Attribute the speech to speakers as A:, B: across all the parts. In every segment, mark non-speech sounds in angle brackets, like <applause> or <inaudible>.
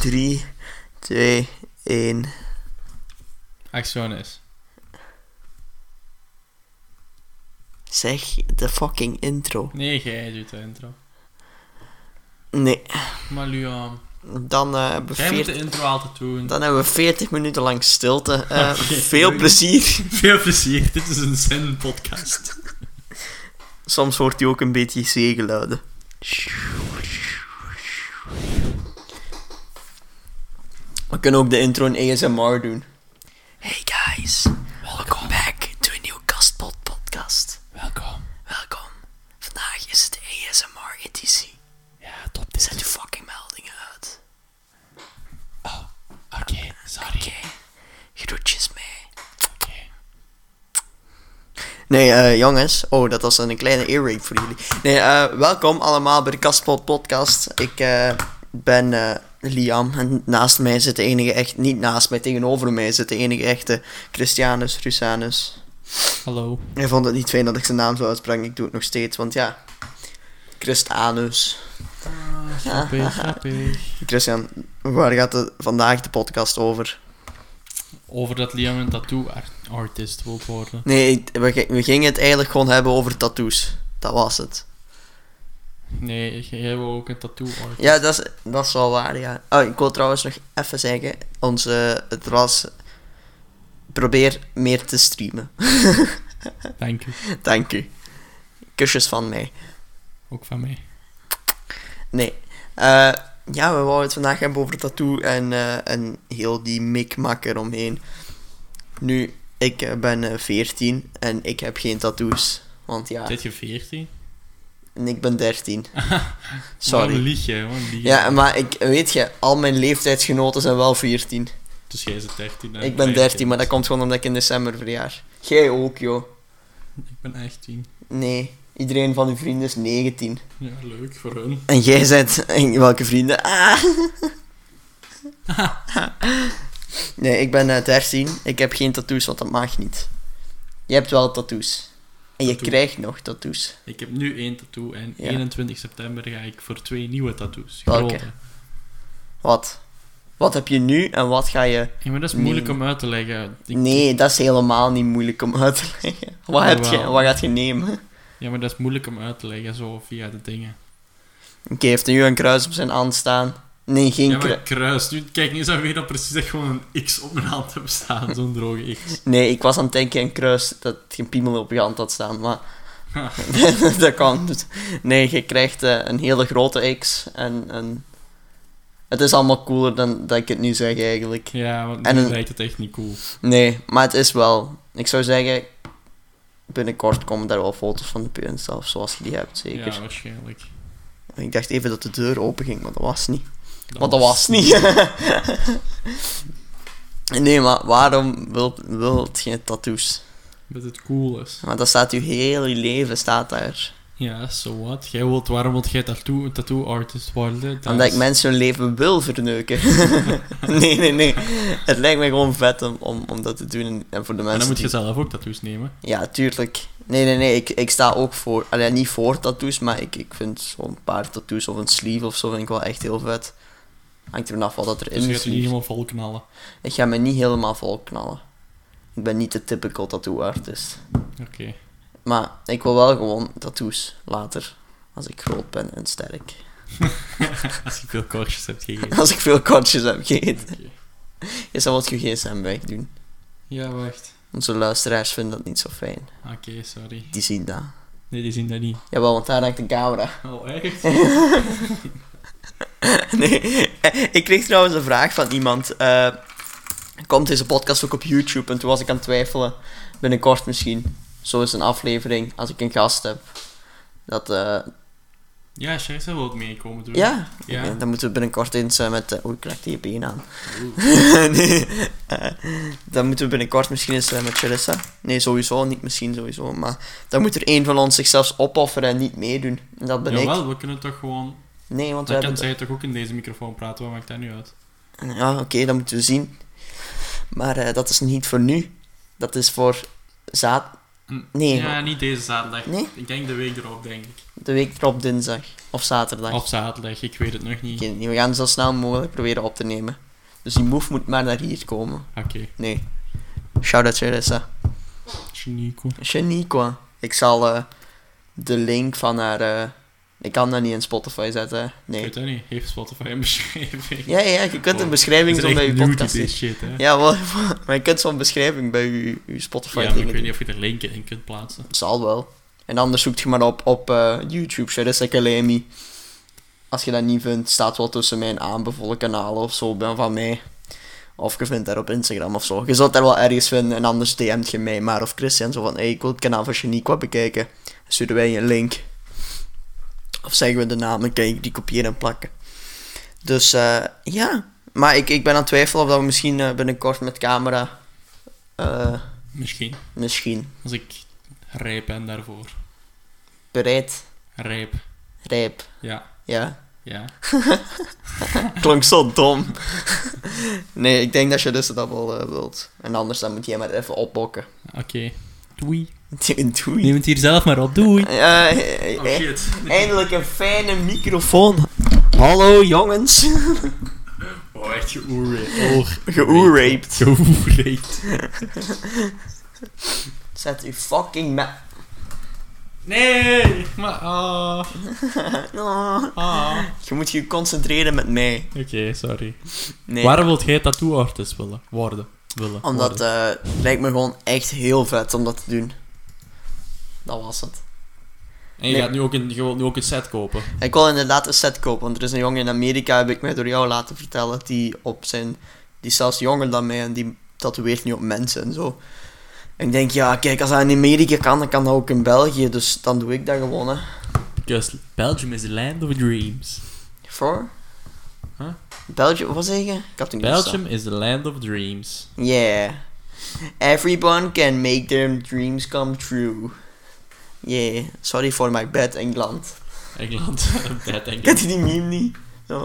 A: 3, 2, 1.
B: Axonis.
A: Zeg de fucking intro.
B: Nee, jij doet de intro.
A: Nee,
B: Maar Luan,
A: dan, eh, hebben we
B: jij moet de
A: 40,
B: intro altijd doen.
A: dan hebben we 40 minuten lang stilte. Eh,
B: <laughs> Oké,
A: veel
B: doei.
A: plezier.
B: Veel plezier, dit is een zen-podcast.
A: Soms hoort hij ook een beetje zeegeluiden. We kunnen ook de intro in ASMR doen. Hey guys, welcome back to a new Kastpot podcast.
B: Welkom.
A: Welkom. Vandaag is het ASMR-editie.
B: Ja, top dit.
A: Zet je fucking meldingen uit.
B: Oh, Oké, sorry.
A: Oké. Groetjes mee.
B: Oké.
A: Nee, eh, jongens. Oh, dat was een kleine earring voor jullie. Nee, eh, welkom allemaal bij de Kastpot Podcast. Ik eh, ben eh, Liam en naast mij zit de enige echt... Niet naast mij, tegenover mij zit de enige echte Christianus Rusanus.
B: Hallo.
A: Hij vond het niet fijn dat ik zijn naam zo uitsprak. Ik doe het nog steeds, want ja... Christanus.
B: Ah, grappig, grappig.
A: Christian, waar gaat de, vandaag de podcast over?
B: Over dat Liam een tattoo art- artist wil worden.
A: Nee, we, g- we gingen het eigenlijk gewoon hebben over tattoos. Dat was het.
B: Nee, jij wil ook een tattoo artist.
A: Ja, dat is, dat is wel waar, ja. Oh, ik wil trouwens nog even zeggen, onze, het was, probeer meer te streamen. <laughs>
B: Dank u.
A: Dank u. Kusjes van mij.
B: Ook van mij.
A: Nee. Eh, ja, we wouden het vandaag hebben over tattoo en, eh, en heel die mikmak eromheen. Nu, ik eh, ben eh, 14 en ik heb geen tattoos. Want ja,
B: Zit je 14?
A: en ik ben 13. Sorry.
B: Waarom lieg jij? Waarom lieg je?
A: Ja, maar ik, weet je, al mijn leeftijdsgenoten zijn wel 14.
B: Dus jij is 13 en
A: Ik ben 13, maar dat komt gewoon omdat ik in december verjaar. Jij ook, joh.
B: Ik ben 18.
A: Nee, iedereen van uw vrienden is 19.
B: Ja, leuk voor hun.
A: En jij bent... En welke vrienden? Ah. Nee, ik ben eh, 13. Ik heb geen tattoos, want dat mag niet. Je hebt wel tattoos. En je
B: Tattoo.
A: krijgt nog tattoos.
B: Ik heb nu één tattoo en
A: Ja.
B: 21 september ga ik voor twee nieuwe tattoos.
A: Welke?
B: Grote.
A: Wat? Wat heb je nu en wat ga je...
B: Ja, maar dat is
A: Nee.
B: moeilijk om uit te leggen. Ik- Oh,
A: Nee, dat is helemaal niet moeilijk om uit te leggen. Wat, heb je,
B: Jawel.
A: wat gaat je nemen? Oké,
B: Ja, maar dat is moeilijk om uit te leggen zo via de dingen.
A: heeft nu een kruis op zijn hand staan? Nee, geen
B: ja,
A: kruis.
B: maar kruis. Nu, kijk, nu zijn we weer al precies dat ik gewoon een X op mijn hand heb staan. Zo'n droge X.
A: Nee, ik was aan het denken een kruis dat je een piemel op je hand had staan, maar
B: <laughs>
A: <laughs> dat kan niet. Nee, je krijgt eh, een hele grote X en, en het is allemaal cooler dan dat ik het nu zeg eigenlijk.
B: Ja, want
A: En
B: nu
A: een-
B: lijkt het echt niet cool.
A: Nee, maar het is wel. Ik zou zeggen, binnenkort komen daar wel foto's van de punt af, zoals je die hebt zeker.
B: Ja, waarschijnlijk.
A: Ik dacht even dat de deur open ging, maar dat was niet.
B: Dat
A: Want dat was niet. <laughs> nee, maar waarom wilt, wilt je tattoos?
B: Dat het cool is.
A: Want dat staat je hele leven, staat daar.
B: Ja, so what? Jij wilt, waarom wilt jij tattoo, een tattoo artist worden? Dat
A: Omdat
B: is-
A: ik mensen hun leven wil verneuken. <laughs> nee, nee, nee. Het lijkt mij gewoon vet om, om, om dat te doen. en- En voor de
B: Maar dan
A: mensen.
B: moet je
A: die-
B: zelf ook tattoos nemen.
A: Ja, tuurlijk. Nee, nee, nee. Ik, ik sta ook voor. Allee, niet voor tattoos, maar ik, ik vind zo'n paar tattoos of een sleeve of zo vind ik wel echt heel vet. Hangt er vanaf wat dat er
B: Dus
A: in
B: je
A: is.
B: gaat je niet helemaal vol knallen.
A: Ik ga me niet helemaal vol knallen. Ik ben niet de typical tattoo artist.
B: Oké.
A: Maar ik wil wel gewoon tattoos later. Als ik groot ben en sterk.
B: Als je veel korstjes
A: <laughs>
B: hebt gegeten.
A: Als ik veel kortjes heb gegeten.
B: Oké.
A: Je zou wat je gsm wegdoen.
B: Ja, wacht.
A: Onze luisteraars vinden dat niet zo fijn.
B: Oké, sorry.
A: Die zien dat.
B: Nee, die zien dat niet.
A: Jawel, want daar hangt de camera. <laughs>
B: Oh, echt?
A: nee, eh, ik kreeg trouwens een vraag van iemand. eh, komt deze podcast ook op YouTube? En toen was ik aan het twijfelen. Binnenkort misschien. Zo is een aflevering, als ik een gast heb. Dat, eh,
B: Ja, Sherza wil ook meekomen doen.
A: ja.
B: Ja.
A: Oké, dan moeten we binnenkort eens eh, met... eh, oei, ik raak die been aan.
B: Oeh.
A: <laughs> nee. eh, dan moeten we binnenkort misschien eens eh, met Charissa. Nee, sowieso. Niet misschien sowieso. Maar dan moet er één van ons zichzelf opofferen en niet meedoen. En dat ben ik.
B: Jawel, we kunnen toch gewoon...
A: Nee, want we
B: Dan
A: hebben...
B: kan zij toch ook in deze microfoon praten, wat maakt dat nu uit?
A: Ja, oké, dat moeten we zien. Maar eh, dat is niet voor nu. Dat is voor zaad... Nee,
B: Ja, niet deze zaterdag.
A: Nee?
B: Ik denk de week erop, denk ik.
A: de week erop dinsdag of zaterdag.
B: Of zaterdag, ik weet het nog
A: Ik
B: niet.
A: weet het niet, we gaan zo snel mogelijk proberen op te nemen. Dus die move moet maar naar hier komen.
B: Oké.
A: Nee. Shout-out Teresa.
B: Chinico.
A: Shaniqua. Ik zal eh, de link van haar... eh, ik kan dat niet in Spotify zetten.
B: Ik
A: Nee.
B: weet dat niet. Heeft Spotify een beschrijving?
A: Ja, ja, je kunt een
B: Oh,
A: beschrijving
B: Het
A: zo
B: is
A: bij je
B: echt nudie,
A: podcast
B: dit
A: zetten.
B: shit, hè?
A: Ja, wel, <laughs> maar je kunt zo'n beschrijving bij je, je Spotify
B: Ja, maar ik
A: dingen
B: weet niet of je er linken in kunt plaatsen.
A: Het zal wel. En anders zoek je maar op op eh, YouTube, Sharissa Kalemi. Als je dat niet vindt, staat wel tussen mijn aanbevolen kanalen of zo ben van mij. Of je vindt daar op Instagram of zo. Je zult daar wel ergens vinden en anders DM't je mij maar of Christian. Zo van, hey, ik wil het kanaal van Shaniqua bekijken. Dan sturen wij een link. Of zeggen we de naam en kan ik die kopiëren en plakken. Dus eh, ja. Maar ik, ik ben aan het twijfelen of dat we misschien eh, binnenkort met camera... eh,
B: Misschien.
A: misschien
B: Als ik rijp ben daarvoor.
A: bereid,
B: Rijp.
A: rijp...
B: Ja.
A: Ja,
B: Ja.
A: klonk zo dom. <laughs> nee, ik denk dat je dus dat wel eh, wilt. En anders dan moet jij maar even opbokken.
B: Oké. Doei.
A: Doei.
B: Neem het hier zelf maar op. Doei.
A: Ja, eh, eh,
B: Oh shit.
A: eindelijk een fijne microfoon. Hallo jongens.
B: Oh, echt
A: Oh,
B: geoerraped.
A: <laughs> Geoeraped.
B: Geoerraped.
A: Zet uw fucking ma...
B: Nee! Maar, ah.
A: Oh,
B: ah.
A: je moet je concentreren met mij.
B: Oké, sorry.
A: Nee,
B: Waarom wilt jij tattoo artist willen? Worden. Willen.
A: omdat
B: worden.
A: eh, het lijkt me gewoon echt heel vet om dat te doen. Dat was het.
B: En je,
A: nee.
B: gaat nu ook een, je wilt nu ook een set kopen.
A: Ik wil inderdaad een set kopen, want er is een jongen in Amerika, heb ik mij door jou laten vertellen, die op zijn... Die is zelfs jonger dan mij en die tatoeëert nu op mensen en zo. En ik denk, ja, kijk, als dat in Amerika kan, dan kan dat ook in België, dus dan doe ik dat gewoon, hè.
B: Because Belgium is the land of dreams.
A: Voor?
B: Huh?
A: Belgium, wat zeg je? Ik had het niet verstaan.
B: Belgium is the land of dreams.
A: Yeah. Everyone can make their dreams come true. Yeah. Sorry for my bad England.
B: Engeland. <laughs> Bad
A: Kent
B: Engeland.
A: je die meme niet?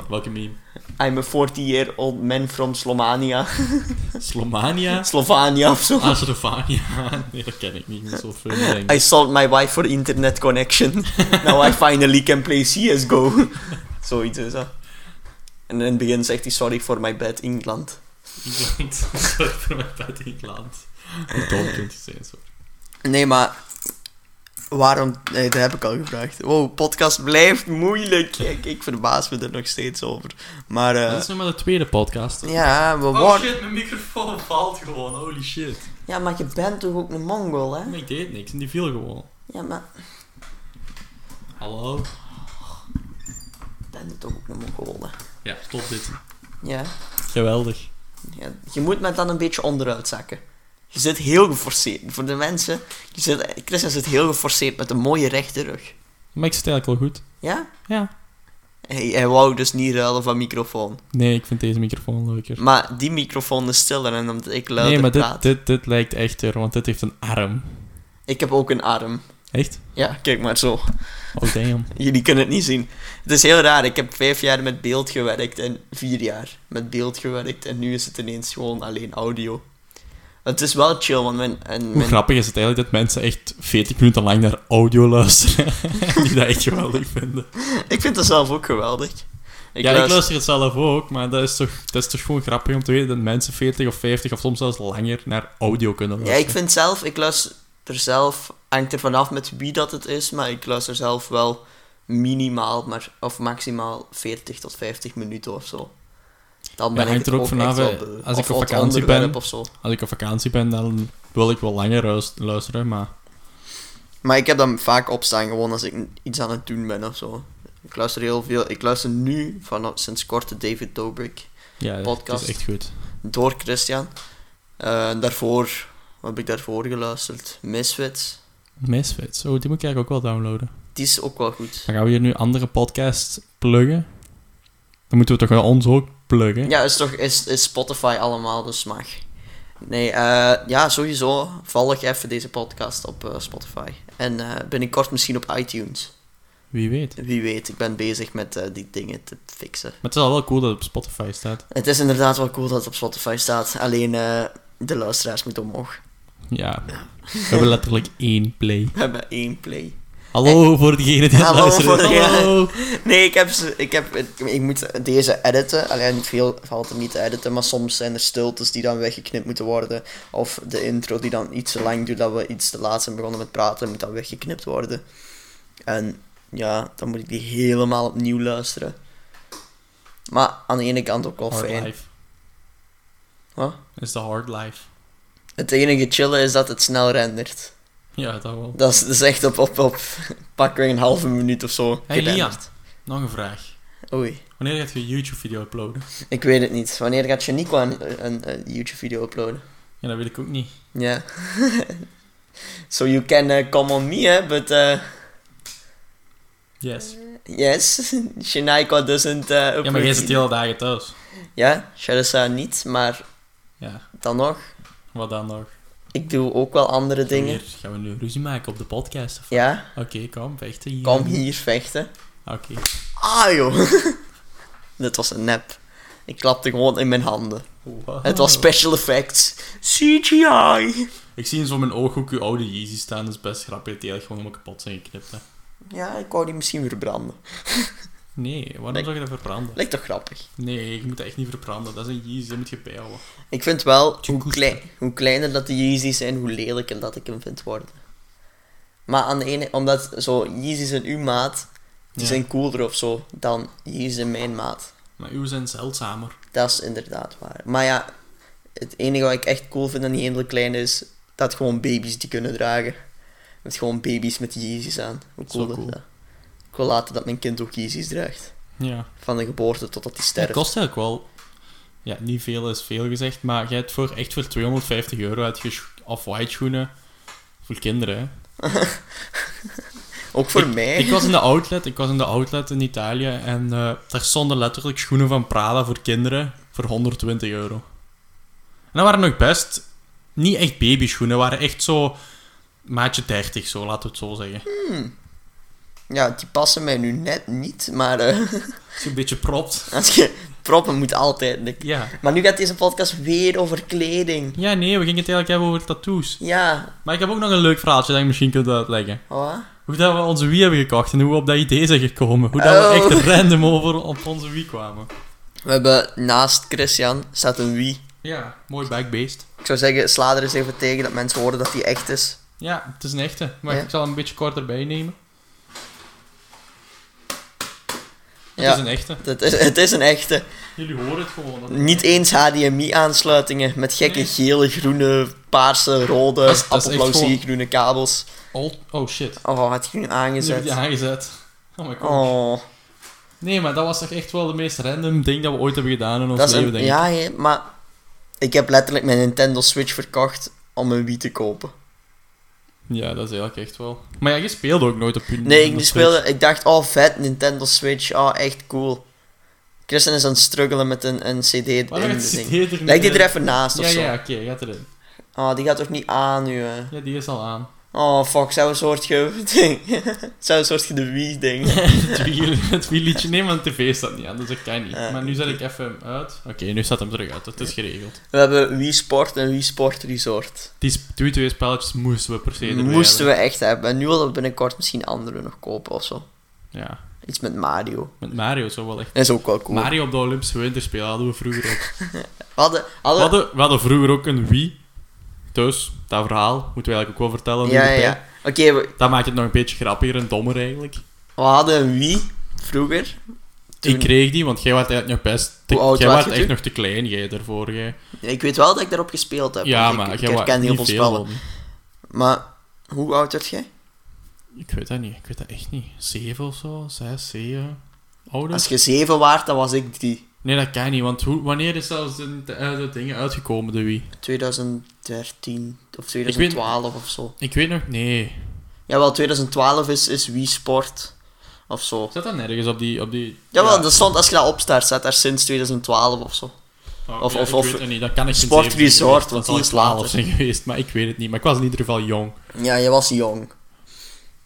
B: Welke meme?
A: I'm a 40-year-old man from Slovenia.
B: <laughs> Slomania?
A: Slovenia of zo.
B: Ah. Slovenia. <laughs> Nee, dat ken ik niet. Dat is wel veel denk
A: I
B: ik.
A: sold my wife for internet
B: <laughs>
A: connection. Now I finally can play CSGO. Zoiets is dat. En in het begin zegt hij sorry for my bad England.
B: Engeland. <laughs> Sorry voor mijn bad Engeland. Hoe dom kunt je zijn, sorry.
A: Nee, maar... Waarom... Nee, dat heb ik al gevraagd. Wow, podcast blijft moeilijk. Ik, ik verbaas me er nog steeds over. Maar... eh,
B: Dat is nu maar de tweede podcast.
A: ja, we worden...
B: Oh, shit, mijn microfoon valt gewoon. Holy shit.
A: Ja, maar je bent toch ook een mongol, hè?
B: Ik deed niks en die viel gewoon.
A: Ja, maar...
B: Hallo?
A: Je bent toch ook een mongol, hè?
B: Ja, stop dit.
A: Ja.
B: Geweldig.
A: Ja, je moet met dan een beetje onderuit zakken. Je zit heel geforceerd. Voor de mensen, je zit, Christian zit heel geforceerd met een mooie rechte rug.
B: Maar ik zit eigenlijk wel goed.
A: Ja?
B: Ja.
A: Hij, hij wou dus niet ruilen van microfoon.
B: Nee, ik vind deze microfoon leuker.
A: Maar die microfoon is stiller en omdat ik luider
B: Nee, maar dit,
A: praat.
B: dit, dit lijkt echter, want dit heeft een arm.
A: Ik heb ook een arm.
B: Echt?
A: Ja, kijk maar zo.
B: Oh, damn.
A: Jullie kunnen het niet zien. Het is heel raar. Ik heb vijf jaar met beeld gewerkt en vier jaar met beeld gewerkt. En nu is het ineens gewoon alleen audio. Het is wel chill, want mijn... En
B: Hoe
A: <laughs> mijn
B: grappig is het eigenlijk dat mensen echt 40 minuten lang naar audio luisteren? <laughs> die dat echt geweldig vinden.
A: ik vind dat zelf ook geweldig.
B: ja, ik
A: luister-
B: luister het zelf ook, maar dat is, toch, dat is toch gewoon grappig om te weten dat mensen 40 of 50 of soms zelfs langer naar audio kunnen
A: Ja,
B: luisteren.
A: ik vind zelf, ik luister zelf, hangt er vanaf met wie dat het is, maar ik luister zelf wel minimaal, maar, of maximaal 40 tot 50 minuten of zo. Dan
B: Ja,
A: ben ik
B: hangt er ook
A: ook
B: vanaf,
A: echt wel
B: hè.
A: beu.
B: Als
A: Of
B: ik op
A: het
B: vakantie
A: onderwerp
B: ben.
A: Of zo.
B: Als ik op vakantie ben, dan wil ik wel langer ruis- luisteren, maar...
A: Maar ik heb dan vaak opstaan gewoon als ik iets aan het doen ben of zo. Ik luister heel veel. Ik luister nu, vanaf sinds kort, de David Dobrik.
B: Ja,
A: Podcast.
B: het is echt goed.
A: door Christian. Eh, daarvoor, wat heb ik daarvoor geluisterd? Misfits.
B: Misfits. Oh, die moet ik eigenlijk ook wel downloaden.
A: Die is ook wel goed.
B: Dan gaan we hier nu andere podcasts pluggen. Dan moeten we toch wel ons ook pluggen.
A: Ja, is toch is, is Spotify allemaal, dus mag. Nee, eh, ja, sowieso. Volg even deze podcast op eh, Spotify. En eh, binnenkort misschien op iTunes.
B: Wie weet.
A: Wie weet, ik ben bezig met eh, die dingen te fixen.
B: Maar het is al wel cool dat het op Spotify staat.
A: Het is inderdaad wel cool dat het op Spotify staat. Alleen eh, de luisteraars moeten omhoog.
B: Ja. We hebben
A: <laughs>
B: letterlijk één play.
A: We hebben één play.
B: Hallo voor degene die
A: Hallo
B: het luisteren.
A: voor degene-
B: Hallo.
A: Nee, ik heb ze. Ik, heb, ik, ik moet deze editen. Alleen niet veel valt er niet te editen, maar soms zijn er stiltes die dan weggeknipt moeten worden. Of de intro die dan iets te lang duurt dat we iets te laat zijn begonnen met praten, moet dan weggeknipt worden. En ja, dan moet ik die helemaal opnieuw luisteren. Maar aan de ene kant ook wel
B: Hard
A: fijn.
B: life.
A: Wat?
B: Is de hard life.
A: Het enige chillen is dat het snel rendert.
B: Ja, dat wel.
A: Dat is, dat is echt op, op, op pakweg een halve minuut of zo.
B: Hey, Liam.
A: gerenderd.
B: Nog een vraag.
A: Oei.
B: Wanneer gaat je een YouTube-video uploaden?
A: Ik weet het niet. Wanneer gaat Janiqua een, een, een YouTube-video uploaden?
B: Ja, dat weet ik ook niet.
A: Yeah. <laughs> so you can uh, come on me, eh? But uh,
B: Yes.
A: yes, <laughs> Shinaiko doesn't. Uh,
B: Ja, maar jij
A: approve-
B: zit de hele dagen thuis.
A: Ja, Sharissa niet, maar
B: Ja,
A: dan nog.
B: wat dan nog?
A: Ik doe ook wel andere dingen.
B: Hier gaan we nu ruzie maken op de podcast. of-
A: Ja,
B: Oké, kom, vechten hier.
A: kom hier vechten.
B: Oké.
A: Ah joh, <laughs> dit was een nep. Ik klapte gewoon in mijn handen.
B: Wow.
A: Het was special effects. CGI.
B: Ik zie in zo mijn ooghoek uw oude Yeezy staan, dat is best grappig. Die eigenlijk gewoon helemaal kapot zijn geknipt. Hè.
A: Ja, ik wou die misschien verbranden.
B: Nee, waarom
A: Nee.
B: zou je dat verbranden?
A: Lijkt toch grappig?
B: Nee, ik moet dat echt niet verbranden. Dat is een Yeezy, dat moet je bijhouden.
A: Ik vind wel,
B: Tjoe,
A: hoe,
B: koest,
A: klein, hoe kleiner dat de Yeezys zijn, hoe lelijker dat ik hem vind worden. Maar aan de ene, omdat zo Yeezys in uw maat, die
B: Ja.
A: zijn cooler of zo dan Yeezys in mijn maat.
B: Maar uw zijn zeldzamer.
A: Dat is inderdaad waar. Maar ja, het enige wat ik echt cool vind aan die hele kleine is dat gewoon baby's die kunnen dragen. Met gewoon baby's met Yeezys aan. Hoe
B: Zo
A: cool is
B: cool.
A: dat? Ik wil laten dat mijn kind ook Yeezys draagt.
B: Ja.
A: Van de geboorte totdat hij
B: Het
A: sterft.
B: kost eigenlijk wel... Ja, niet veel is veel gezegd, maar jij hebt voor, echt voor 250 euro uit off-white schoenen voor kinderen. hè.
A: Ook voor mij.
B: Ik was in de outlet, ik was in de outlet in Italië en eh, daar stonden letterlijk schoenen van Prada voor kinderen voor 120 euro. En dat waren nog best niet echt babyschoenen, waren echt zo maatje 30 zo, laten we het zo zeggen.
A: Ja, die passen mij nu net niet, maar... eh,
B: Als je een beetje
A: <laughs>
B: propt.
A: Als je proppen moet altijd. dik.
B: Ja.
A: Maar nu gaat deze podcast weer over kleding.
B: Ja, nee, we gingen het eigenlijk hebben over tattoos.
A: Ja,
B: Maar ik heb ook nog een leuk verhaaltje dat je misschien kunt uitleggen.
A: wat?
B: Hoe dat we onze Wii hebben gekocht en hoe we op dat idee zijn gekomen. Hoe dat
A: Oh.
B: we echt random over op onze Wii kwamen.
A: We hebben naast Christian staat een wie.
B: Ja, mooi backbeest.
A: Ik zou zeggen, sla er eens even tegen dat mensen horen dat die echt is.
B: Ja, het is een echte, maar
A: Ja.
B: ik zal hem een beetje korter bijnemen. Het
A: Ja.
B: is een echte.
A: Het is, het is een echte.
B: Jullie horen het gewoon. Dat-
A: Niet eens HDMI-aansluitingen met gekke
B: Nee.
A: gele, groene, paarse, rode,
B: Dat is- dat is echt
A: appelblauw zie
B: gewoon-
A: groene kabels.
B: Alt- Oh shit.
A: Oh, had ik nu
B: Nu heb ik die
A: aangezet.
B: aangezet. Oh my god.
A: Oh,
B: Nee, maar dat was toch echt wel de meest random ding dat we ooit hebben gedaan in ons
A: dat is
B: leven,
A: een,
B: denk ik.
A: ja, hè, maar ik heb letterlijk mijn Nintendo Switch verkocht om een Wii te kopen.
B: Ja, dat is eigenlijk echt wel. Maar ja, je speelde ook nooit op je
A: Nee, ik
B: Nintendo
A: speelde. Ik dacht, oh vet, Nintendo Switch, oh echt cool. Christian is aan het struggelen met een, een CD. in
B: Waarom
A: de
B: gaat die
A: ding.
B: CD er niet
A: Leg die
B: in?
A: er even naast of
B: Ja,
A: zo.
B: ja, oké, gaat erin.
A: Oh, die gaat toch niet aan nu, hè?
B: Ja, die is al aan.
A: <laughs> Oh fuck, zo'n soort ge. ding. <laughs> zo'n soort ge de Wii-ding.
B: het wiel- het wielietje. Nee, maar de tv staat niet aan, dus dat kan niet.
A: Ja.
B: Maar nu zet ik even hem uit. Oké, nu staat hem terug uit. Het is geregeld.
A: We hebben Wii Sport en Wii Sport Resort.
B: Die, sp- die twee spelletjes moesten we per se erbij
A: Moesten
B: hebben.
A: we echt hebben. En nu willen we binnenkort misschien andere nog kopen of zo.
B: Ja,
A: Iets met Mario.
B: met Mario zo wel echt.
A: Dat is ook wel cool.
B: Mario op de Olympische Winterspelen hadden we vroeger ook.
A: We hadden,
B: We
A: hadden-
B: hadden, we hadden vroeger ook een Wii. Dus, dat verhaal moeten we eigenlijk ook wel vertellen. nu
A: ja, ja,
B: erbij.
A: ja. Oké, we,
B: Dat maakt het nog een beetje grappiger en dommer eigenlijk.
A: we hadden een Wii vroeger. Toen-
B: Ik kreeg die, want jij was eigenlijk nog best... Te,
A: Hoe oud
B: jij
A: was
B: was
A: je
B: echt
A: toen?
B: nog te klein, jij daarvoor. Jij.
A: Ik weet wel dat ik daarop gespeeld heb.
B: Ja,
A: want
B: maar
A: Eh, ik, ik
B: jij was
A: herken heel
B: niet
A: veel
B: veel.
A: spellen. Maar hoe oud werd jij?
B: Ik weet dat niet, ik weet dat echt niet. Zeven of zo, zes, zeven. Ouder?
A: Als je zeven waard, dan was ik drie.
B: Nee, dat kan niet, want hoe, wanneer is zelfs de, eh, de dingen uitgekomen, de Wii?
A: 2013 of
B: weet-
A: 2012 of zo.
B: Ik weet nog, nee.
A: Jawel, 2012 is, is Wii Sport of zo.
B: Zat dat nergens op die... Op die
A: Jawel,
B: Ja.
A: dat stond, als je dat opstart, staat daar sinds 2012 of zo.
B: Oh,
A: Of-
B: ja,
A: of-
B: ik
A: of
B: weet het niet, dat kan ik
A: Sport
B: niet zeggen.
A: Resort,
B: Dat
A: want
B: zal
A: die
B: ik
A: is later.
B: 12 zijn geweest, maar ik weet het niet. Maar ik was in ieder geval jong.
A: Ja, je was jong.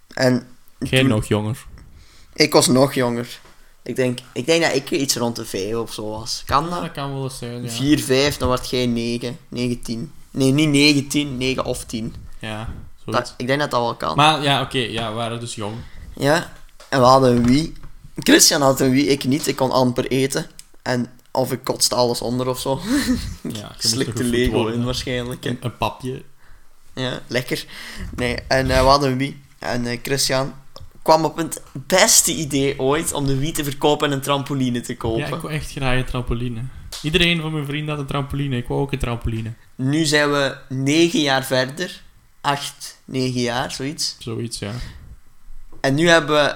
A: En
B: Jij
A: Toen-
B: nog jonger.
A: ik was nog jonger. Ik denk, ik denk dat ik iets rond de vijf of zo was. Kan
B: Ja,
A: dat?
B: dat kan wel eens zijn, ja.
A: Vier, vijf, dan werd jij negen. 19. Nee, niet 9, 10, 9 of 10.
B: Ja, zoiets.
A: Dat, ik denk dat dat wel kan.
B: Maar ja, oké, ja, we waren dus jong.
A: Ja, en we hadden een Wii. Christian had een Wii, ik niet. Ik kon amper eten. En of ik kotste alles onder of zo.
B: Ja,
A: Ik slikte Lego in waarschijnlijk. hè.
B: Een, een papje.
A: Ja, lekker. Nee, en eh, we hadden een Wii. En eh, Christian kwam op het beste idee ooit om de Wii te verkopen en een trampoline te
B: Ja,
A: kopen.
B: ik wou echt graag een trampoline. Iedereen van mijn vrienden had een trampoline. Ik wou ook een trampoline.
A: Nu zijn we negen jaar verder. Acht, negen jaar, zoiets.
B: Zoiets, ja.
A: En nu hebben we...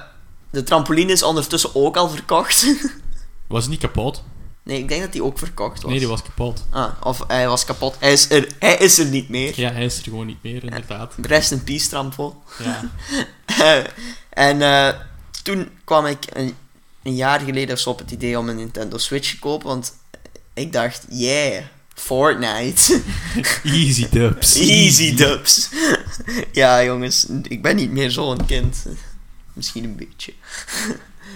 A: De trampoline is ondertussen ook al verkocht. <laughs>
B: Was het niet kapot?
A: nee, ik denk dat die ook verkocht was.
B: Nee, die was kapot.
A: Ah, of hij was kapot. Hij is er, hij is er niet meer.
B: Ja, hij is er gewoon niet meer, inderdaad.
A: Rest in peace, trampo.
B: Ja.
A: <laughs> en eh, toen kwam ik een, een jaar geleden of zo op het idee om een Nintendo Switch te kopen, want ik dacht, yeah, Fortnite. <laughs>
B: Easy dubs.
A: Easy dubs. <laughs> ja, jongens, ik ben niet meer zo'n kind. <laughs> Misschien een beetje.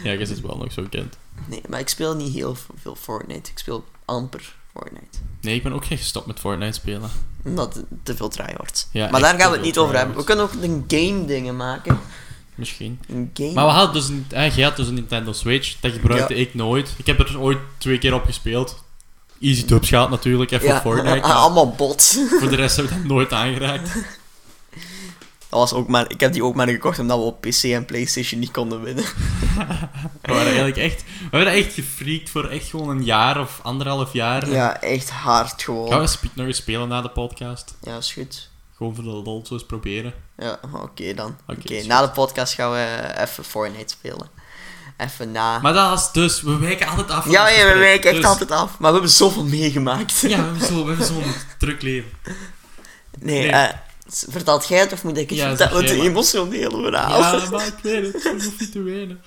B: Ja, ik is het wel nog zo'n kind.
A: Nee, maar ik speel niet heel veel Fortnite. Ik speel amper Fortnite.
B: Nee, ik ben ook geen gestopt met Fortnite spelen.
A: Omdat het te veel tryhards.
B: Ja,
A: maar
B: echt
A: daar gaan
B: te
A: we het
B: veel
A: niet over hebben. We
B: tryhards.
A: kunnen ook een game dingen maken.
B: Misschien.
A: Een game.
B: Maar we hadden dus een, eh, jij had dus een Nintendo Switch. Dat gebruikte ik nooit. Ik heb er ooit twee keer op gespeeld. Easy dubs gaat natuurlijk, even
A: ja,
B: op Fortnite. maar
A: <laughs> allemaal bots.
B: voor de rest heb ik dat nooit aangeraakt.
A: Dat was ook maar, ik heb die ook maar gekocht omdat we op PC en PlayStation niet konden
B: <laughs>
A: winnen.
B: We waren eigenlijk echt... We waren echt gefreakt voor echt gewoon een jaar of anderhalf jaar.
A: Ja, echt hard
B: Gaan
A: gewoon.
B: we spe- nog eens spelen na de podcast?
A: Ja, is goed.
B: Gewoon voor de lol, zo eens proberen.
A: Ja, oké dan. Oké,
B: Oké, is
A: na de podcast gaan we even Fortnite spelen. Even na.
B: Maar dat is dus... We wijken altijd af van
A: ja,
B: ons
A: ja, we
B: gesprek.
A: wijken echt
B: Dus-
A: altijd af. Maar we hebben zoveel meegemaakt. <laughs>
B: Ja, we hebben zo- we hebben zo'n druk leven.
A: Nee,
B: Nee.
A: eh, s- vertelt jij het of moet ik het
B: Ja,
A: vertellen?
B: zeg
A: Het
B: jij maar.
A: emotionele verhaal.
B: Ja, maar ik weet het. Ik hoef niet te wenen.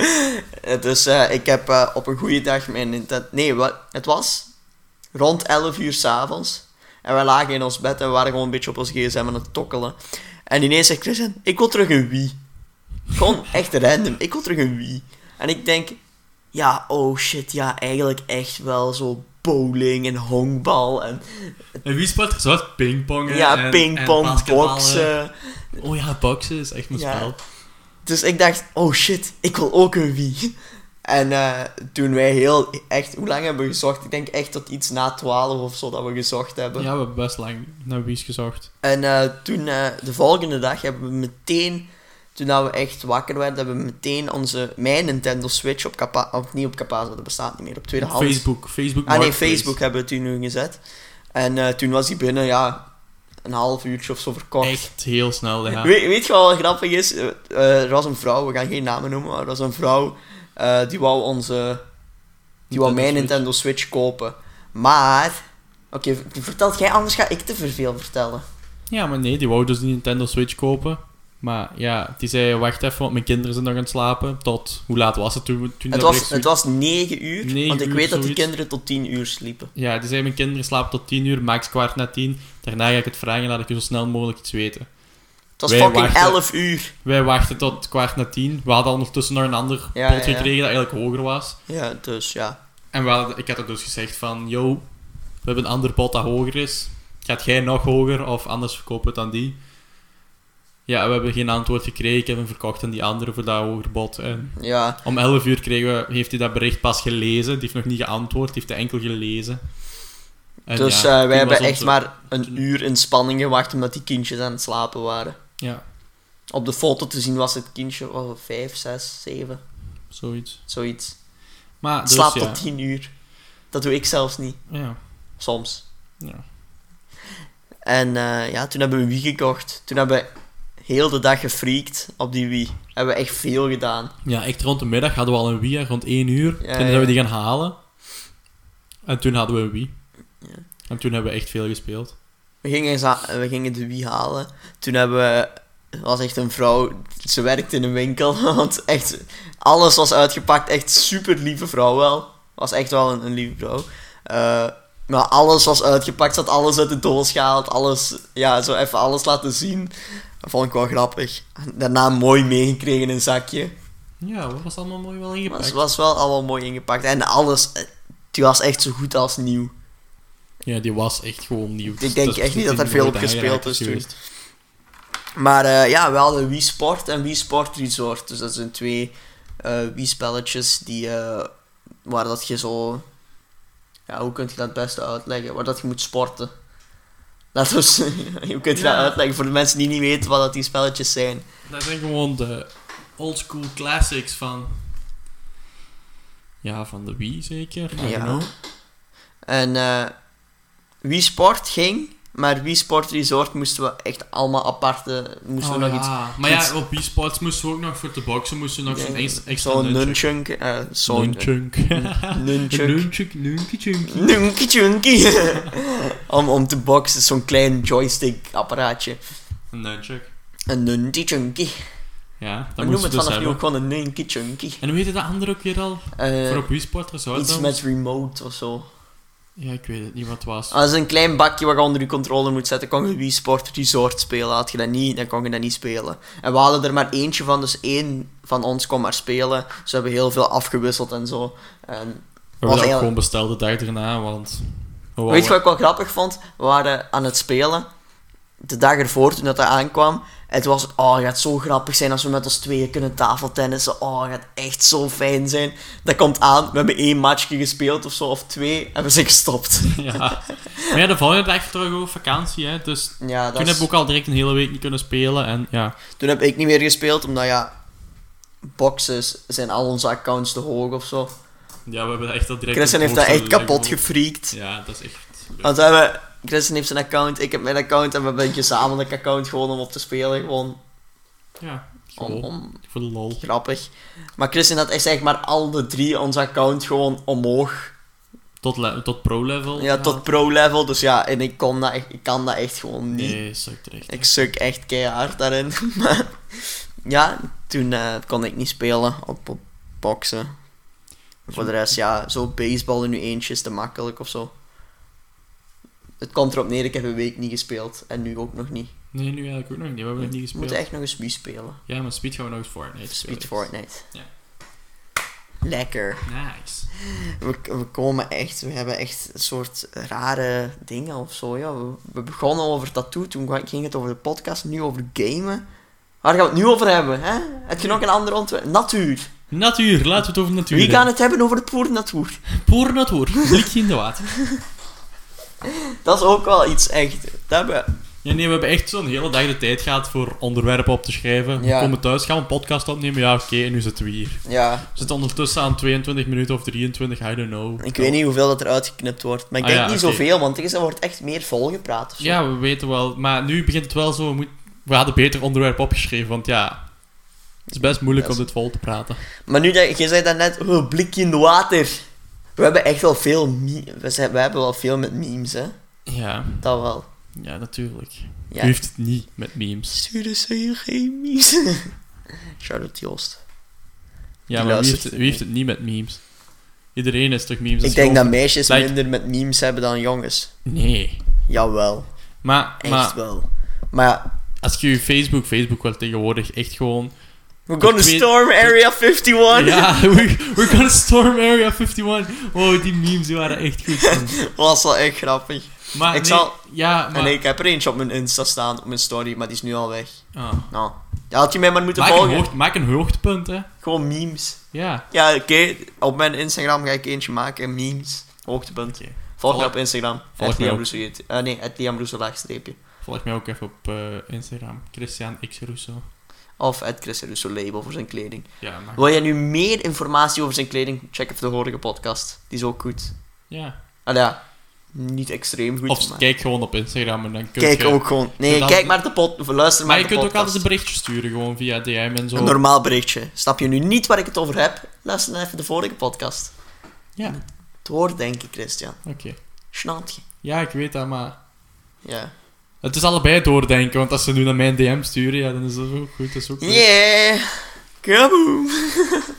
A: Eh, Dus eh, ik heb eh, op een goede dag mijn Nintendo... Nee, wat, het was rond 11 uur s'avonds. En wij lagen in ons bed en we waren gewoon een beetje op ons gsm aan het tokkelen. En ineens zegt Christian, ik wil terug een Wii.
B: <laughs>
A: Gewoon echt random, ik wil terug een Wii. En ik denk, ja, oh shit, ja, eigenlijk echt wel zo bowling en honkbal en
B: En wie sport er zo uit? Pingpongen
A: ja,
B: en- en
A: pingpong,
B: basketballen.
A: boksen.
B: Oh ja, boksen is echt mijn
A: Ja.
B: spel.
A: Dus ik dacht, oh shit, ik wil ook een Wii. En eh, toen wij heel, echt, hoe lang hebben we gezocht? Ik denk echt tot iets na 12 of zo dat we gezocht hebben.
B: Ja, we hebben best lang naar Wies gezocht.
A: En eh, toen, eh, de volgende dag, hebben we meteen, toen dat we echt wakker werden, hebben we meteen onze, mijn Nintendo Switch op Capa, of niet op Capaza, dat bestaat niet meer, op tweede hand.
B: Facebook. Facebook
A: Ah nee,
B: Marketplace.
A: Facebook hebben we toen nu gezet. En eh, toen was hij binnen, ja, een half uurtje of zo verkocht.
B: Echt heel snel, ja.
A: Weet, weet je wat wel grappig is? Eh, eh, er was een vrouw, we gaan geen namen noemen, maar er was een vrouw eh, die wou onze. Die wou
B: Nintendo
A: mijn
B: Switch.
A: Nintendo Switch kopen. Maar. Oké, v- vertelt jij, anders ga ik te veel vertellen.
B: Ja, maar nee, die wou dus die Nintendo Switch kopen. Maar ja, die zei, wacht even, want mijn kinderen zijn nog aan het slapen. Tot, hoe laat was het toen?
A: Het
B: toen dat
A: was,
B: bericht-
A: het was 9 uur,
B: Negen
A: want ik
B: uur,
A: weet dat die
B: zoiets.
A: kinderen tot 10 uur sliepen.
B: Ja, die zei, mijn kinderen slapen tot 10 uur, max kwart na 10. Daarna ga ik het vragen en laat ik je zo snel mogelijk iets weten.
A: Het was
B: Wij
A: fucking
B: wachten.
A: 11 uur.
B: Wij wachten tot kwart na 10. We hadden ondertussen nog een ander pot
A: Ja, ja, ja.
B: gekregen dat eigenlijk hoger was.
A: Ja, dus ja.
B: En we hadden- ik had het dus gezegd van, yo, we hebben een ander pot dat hoger is. Gaat jij nog hoger of anders verkopen we het aan die? Ja, we hebben geen antwoord gekregen. Ik heb hem verkocht aan die andere voor dat hoger bod. En
A: Ja,
B: om 11 uur kregen we, heeft hij dat bericht pas gelezen. Die heeft nog niet geantwoord, die heeft het enkel gelezen. En
A: dus
B: ja,
A: eh,
B: toen
A: wij hebben
B: was
A: echt
B: onze-
A: maar een
B: toen-
A: uur in spanning gewacht omdat die kindjes aan het slapen waren.
B: Ja,
A: Op de foto te zien was het kindje oh, 5, 6, 7,
B: zoiets.
A: zoiets.
B: Maar
A: Het
B: dus,
A: slaapt
B: ja.
A: Ah, tot 10 uur. Dat doe ik zelfs niet,
B: Ja,
A: soms.
B: ja.
A: En eh, ja, toen hebben we een Wii gekocht. Toen hebben we heel de dag gefreakt op die Wii. Hebben we echt veel gedaan.
B: Ja, echt rond de middag hadden we al een Wii, hè, rond 1 uur. toen zijn
A: ja.
B: we die gaan halen. En toen hadden we een Wii.
A: Ja.
B: En toen hebben we echt veel gespeeld.
A: We gingen, eens a- we gingen de Wii halen. Toen hebben we... er was echt een vrouw, ze werkte in een winkel. <laughs> Want echt, alles was uitgepakt. Echt super lieve vrouw wel. Was echt wel een, een lieve vrouw. Eh, maar alles was uitgepakt. Ze had alles uit de doos gehaald. Alles, ja, zo even alles laten zien. Dat vond ik wel grappig. Daarna mooi meegekregen in een zakje.
B: Ja, dat was allemaal mooi wel
A: Maar
B: ingepakt.
A: ze was wel allemaal mooi ingepakt. En alles, eh, die was echt zo goed als nieuw.
B: Ja, die was echt gewoon nieuw.
A: Ik denk echt niet dat er
B: die
A: veel
B: nooit
A: op gespeeld
B: aangeraakt
A: is toen. Maar eh, ja, wel de Wii Sport en Wii Sport Resort. Dus dat zijn twee eh Wii spelletjes die, eh, waar dat je zo... Ja, hoe kun je dat het beste uitleggen? Waar dat je moet sporten. <laughs> Dat was, hoe kun je
B: Ja.
A: dat uitleggen voor de mensen die niet weten wat dat die spelletjes zijn?
B: Dat zijn gewoon de oldschool classics van... Ja, van de Wii zeker. I don't
A: Ja.
B: know.
A: En eh Wii Sport ging, maar Wii Sport Resort moesten we echt allemaal aparte... Moesten
B: Oh,
A: we nog
B: ja.
A: iets...
B: Maar ja,
A: iets-
B: op Wii Sports moesten we ook nog voor de boxen moesten we nog zo'n ex- extra
A: Zo'n nunchuk. eh, Zo'n
B: Nunchunk. <laughs>
A: nunchuk.
B: Nunchuk, nunkie, chunkie.
A: Nunkie tjunkie. <laughs> om, om te boxen, zo'n klein joystick apparaatje.
B: Een nunchuk.
A: Een nunkie tjunkie.
B: Ja,
A: We
B: dat
A: noemen het
B: moesten we dus
A: vanaf nu
B: hebben.
A: ook gewoon een nunkie tjunkie.
B: En hoe heette dat andere ook weer al?
A: Eh,
B: voor op Wii Sport Resort
A: iets
B: dan?
A: met Ah, remote of zo.
B: Ja, ik weet het niet wat het was.
A: Als een klein bakje waar je onder je controller moet zetten, kon je Wii Sport Resort spelen. Had je dat niet, dan kon je dat niet spelen. En we hadden er maar eentje van, dus één van ons kon maar spelen. Dus we hebben heel veel afgewisseld en zo. En
B: We hebben dat ook
A: eigenlijk-
B: gewoon besteld de dag erna, want... Oh,
A: Weet je wat ik wel grappig vond? We waren aan het spelen. De dag ervoor, toen dat, dat aankwam. Het was, oh, het gaat zo grappig zijn als we met ons tweeën kunnen tafeltennissen. Oh, het gaat echt zo fijn zijn. Dat komt aan, we hebben één matchje gespeeld of zo, of twee. En we zijn gestopt.
B: <laughs> Ja. Maar ja, de volgende dag vertrok ook op vakantie, hè. Dus toen
A: Ja, dat
B: hebben
A: is-
B: we ook al direct een hele week niet kunnen spelen. En ja,
A: toen heb ik niet meer gespeeld, omdat ja... Boxes zijn al onze accounts te hoog of zo.
B: ja we hebben dat echt al direct...
A: Christian
B: op
A: heeft dat echt
B: voorstel
A: kapot Ah.
B: gelegd.
A: gefreakt.
B: Ja, dat is echt...
A: Want we hebben... Christian heeft zijn account, ik heb mijn account. En we hebben een gezamenlijk account gewoon om op te spelen. Gewoon
B: Ja,
A: om-
B: gewoon
A: om
B: voor de lol.
A: Grappig. Maar Christian had echt zeg maar al de drie ons account gewoon omhoog.
B: Tot, le- tot pro-level.
A: Ja, tot pro-level. Dus ja, en ik, kon dat echt, ik kan dat echt gewoon niet.
B: Nee, sukt echt.
A: Ik suk echt keihard daarin. <laughs> maar ja, toen eh, kon ik niet spelen op, op boksen. Voor de rest, ja, zo baseball in nu eentje is te makkelijk of zo. Het komt erop neer, ik heb een week niet gespeeld. En nu ook nog niet.
B: Nee, nu eigenlijk ook nog niet. We hebben nog niet
A: We
B: gespeeld.
A: moeten echt nog eens Wii spelen.
B: Ja, maar Speed gaan we nog eens Fortnite spelen.
A: Speed Fortnite.
B: Ja.
A: Lekker.
B: Nice.
A: We, we komen echt, we hebben echt een soort rare dingen of zo. Ja. We, we begonnen over tattoo, toen wa- ging het over de podcast, nu over gamen. Waar gaan we het nu over hebben? Hè? Heb je nog een ander onderwerp? Natuur.
B: Natuur, laten we het over natuur
A: Wie gaan het hebben over de poer natuur? <laughs>
B: Poor natuur, <laughs> vliegje in de water.
A: Dat is ook wel iets echt. Dat hebben we-
B: Ja, nee, we hebben echt zo'n hele dag de tijd gehad voor onderwerpen op te schrijven.
A: Ja.
B: We komen thuis, gaan we een podcast opnemen. Ja, oké, en nu zitten we hier.
A: ja,
B: We zitten ondertussen aan 22 minuten of 23, I don't know.
A: ik weet niet hoeveel dat er uitgeknipt wordt, maar ik
B: Ah,
A: denk
B: ja,
A: niet
B: oké.
A: zoveel, want er is- er wordt echt meer volgepraat of zo.
B: Ja, we weten wel. Maar nu begint het wel zo. We, moet- we hadden beter onderwerp opgeschreven, want ja... Het is best moeilijk
A: Ja,
B: om dit vol te praten.
A: Maar nu, dat- je zei dat net, oh, blikje in de water. We hebben echt wel veel, me- we, zijn, we hebben wel veel met memes, hè.
B: Ja,
A: Dat wel.
B: ja natuurlijk.
A: Ja.
B: U heeft het niet met memes.
A: Sturen ze je chemies? Shout-out Joost.
B: Ja,
A: Die
B: maar wie
A: luistert
B: heeft, het, wie heeft het niet met memes? Iedereen is toch memes?
A: Ik
B: gewoon-
A: denk dat meisjes
B: Like-
A: minder met memes hebben dan jongens.
B: Nee.
A: Jawel,
B: Maar,
A: echt
B: maar
A: wel. Maar ja,
B: als je je Facebook, Facebook wel tegenwoordig echt
A: <laughs>
B: gewoon...
A: we're gonna
B: Ik weet-
A: storm Area 51!
B: Ja, we, we're gonna storm Area 51. Wow, die memes die waren echt goed.
A: <laughs>
B: man.
A: <laughs> was wel echt grappig.
B: Maar
A: Ik
B: nee,
A: zal-
B: Ja, maar...
A: En ik heb er eentje op mijn Insta staan, op mijn story, maar die is nu al weg.
B: Ah.
A: Nou, ja, had je mij maar moeten
B: Maak, een
A: volgen.
B: hoogte, maak een hoogtepunt, hè.
A: Gewoon memes.
B: Ja.
A: Ja, oké, op mijn Instagram ga ik eentje maken, memes. Hoogtepunt.
B: Oké.
A: Volg me
B: Volg-
A: op Instagram.
B: volg
A: Het
B: mij
A: Liam
B: ook.
A: Russo heet. Eh, nee, het Liam Russo laagstreepje.
B: Volg mij ook even op eh, Instagram. Christian X Russo.
A: Of het Chris Russo label voor zijn kleding.
B: Ja, maar...
A: Wil jij nu meer informatie over zijn kleding? Check even de vorige podcast. Die is ook goed.
B: Ja.
A: Ah ja, niet extreem goed.
B: Of
A: maar-
B: kijk gewoon op Instagram en dan kun
A: kijk
B: je...
A: ook gewoon. Nee,
B: kunt al-
A: kijk maar de pot. of Luister maar,
B: Maar
A: de
B: je kunt ook
A: podcast.
B: altijd een berichtje sturen, gewoon via DM en zo.
A: Een normaal berichtje. Snap je nu niet waar ik het over heb? Luister dan even de vorige podcast.
B: Ja,
A: Het hoort denk ik, Christian.
B: oké.
A: Snap je?
B: Ja, ik weet dat, maar...
A: Ja.
B: Het is allebei het doordenken, want als ze nu naar mijn DM sturen, ja, dan is dat ook goed. Dat is ook goed.
A: Yeah!
B: Ah,
A: Kaboom!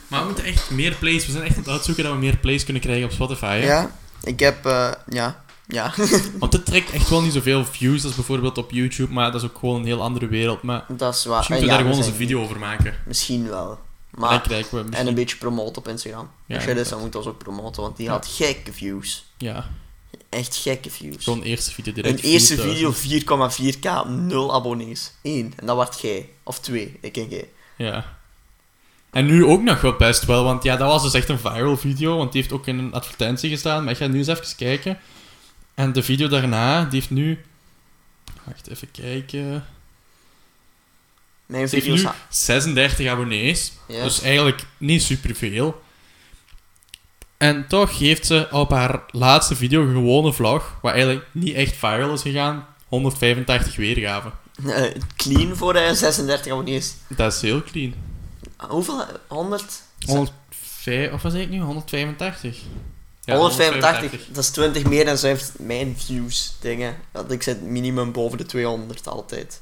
B: Maar we moeten echt meer plays. We zijn echt aan het uitzoeken dat we meer plays kunnen krijgen op Spotify. hè.
A: Ja, ik heb... eh, ja. Ja. <laughs>
B: Want dit trekt echt wel niet zoveel views als bijvoorbeeld op YouTube, maar dat is ook gewoon een heel andere wereld. Maar
A: dat is waar.
B: misschien moeten
A: Eh,
B: we
A: ja,
B: daar gewoon
A: we
B: eens een
A: zijn-
B: video over maken.
A: Misschien wel.
B: Maar, dan
A: Maar...
B: krijgen we
A: En
B: misschien...
A: een beetje promoten op Instagram.
B: Ja,
A: Als jij dit
B: inderdaad.
A: zou moeten ons ook promoten, want die
B: Ja.
A: had gekke views.
B: Ja.
A: echt gekke views.
B: Gewoon eerste video direct. eh.
A: Een eerste
B: 4000.
A: video 4,4k, 0 abonnees. 1. En dat wordt jij. Of 2, ik en jij.
B: Ja. En nu ook nog wel best wel, want ja, dat was dus echt een viral video, want die heeft ook in een advertentie gestaan. Maar ik ga nu eens even kijken. En de video daarna, die heeft nu... Wacht, even kijken.
A: Mijn
B: Ze heeft
A: video's...
B: nu
A: ha-
B: 36 abonnees,
A: Ja.
B: dus eigenlijk niet superveel. En toch geeft ze op haar laatste video, een gewone vlog, waar eigenlijk niet echt viral is gegaan, 185 weergaven.
A: eh, clean voor eh, 36 abonnees.
B: Dat is heel clean.
A: Ah, Hoeveel? 100?
B: 105, of was ik nu? 185. Ja,
A: 185. Dat is 20 meer dan zij heeft mijn views dingen. Want ik zit minimum boven de 200 altijd.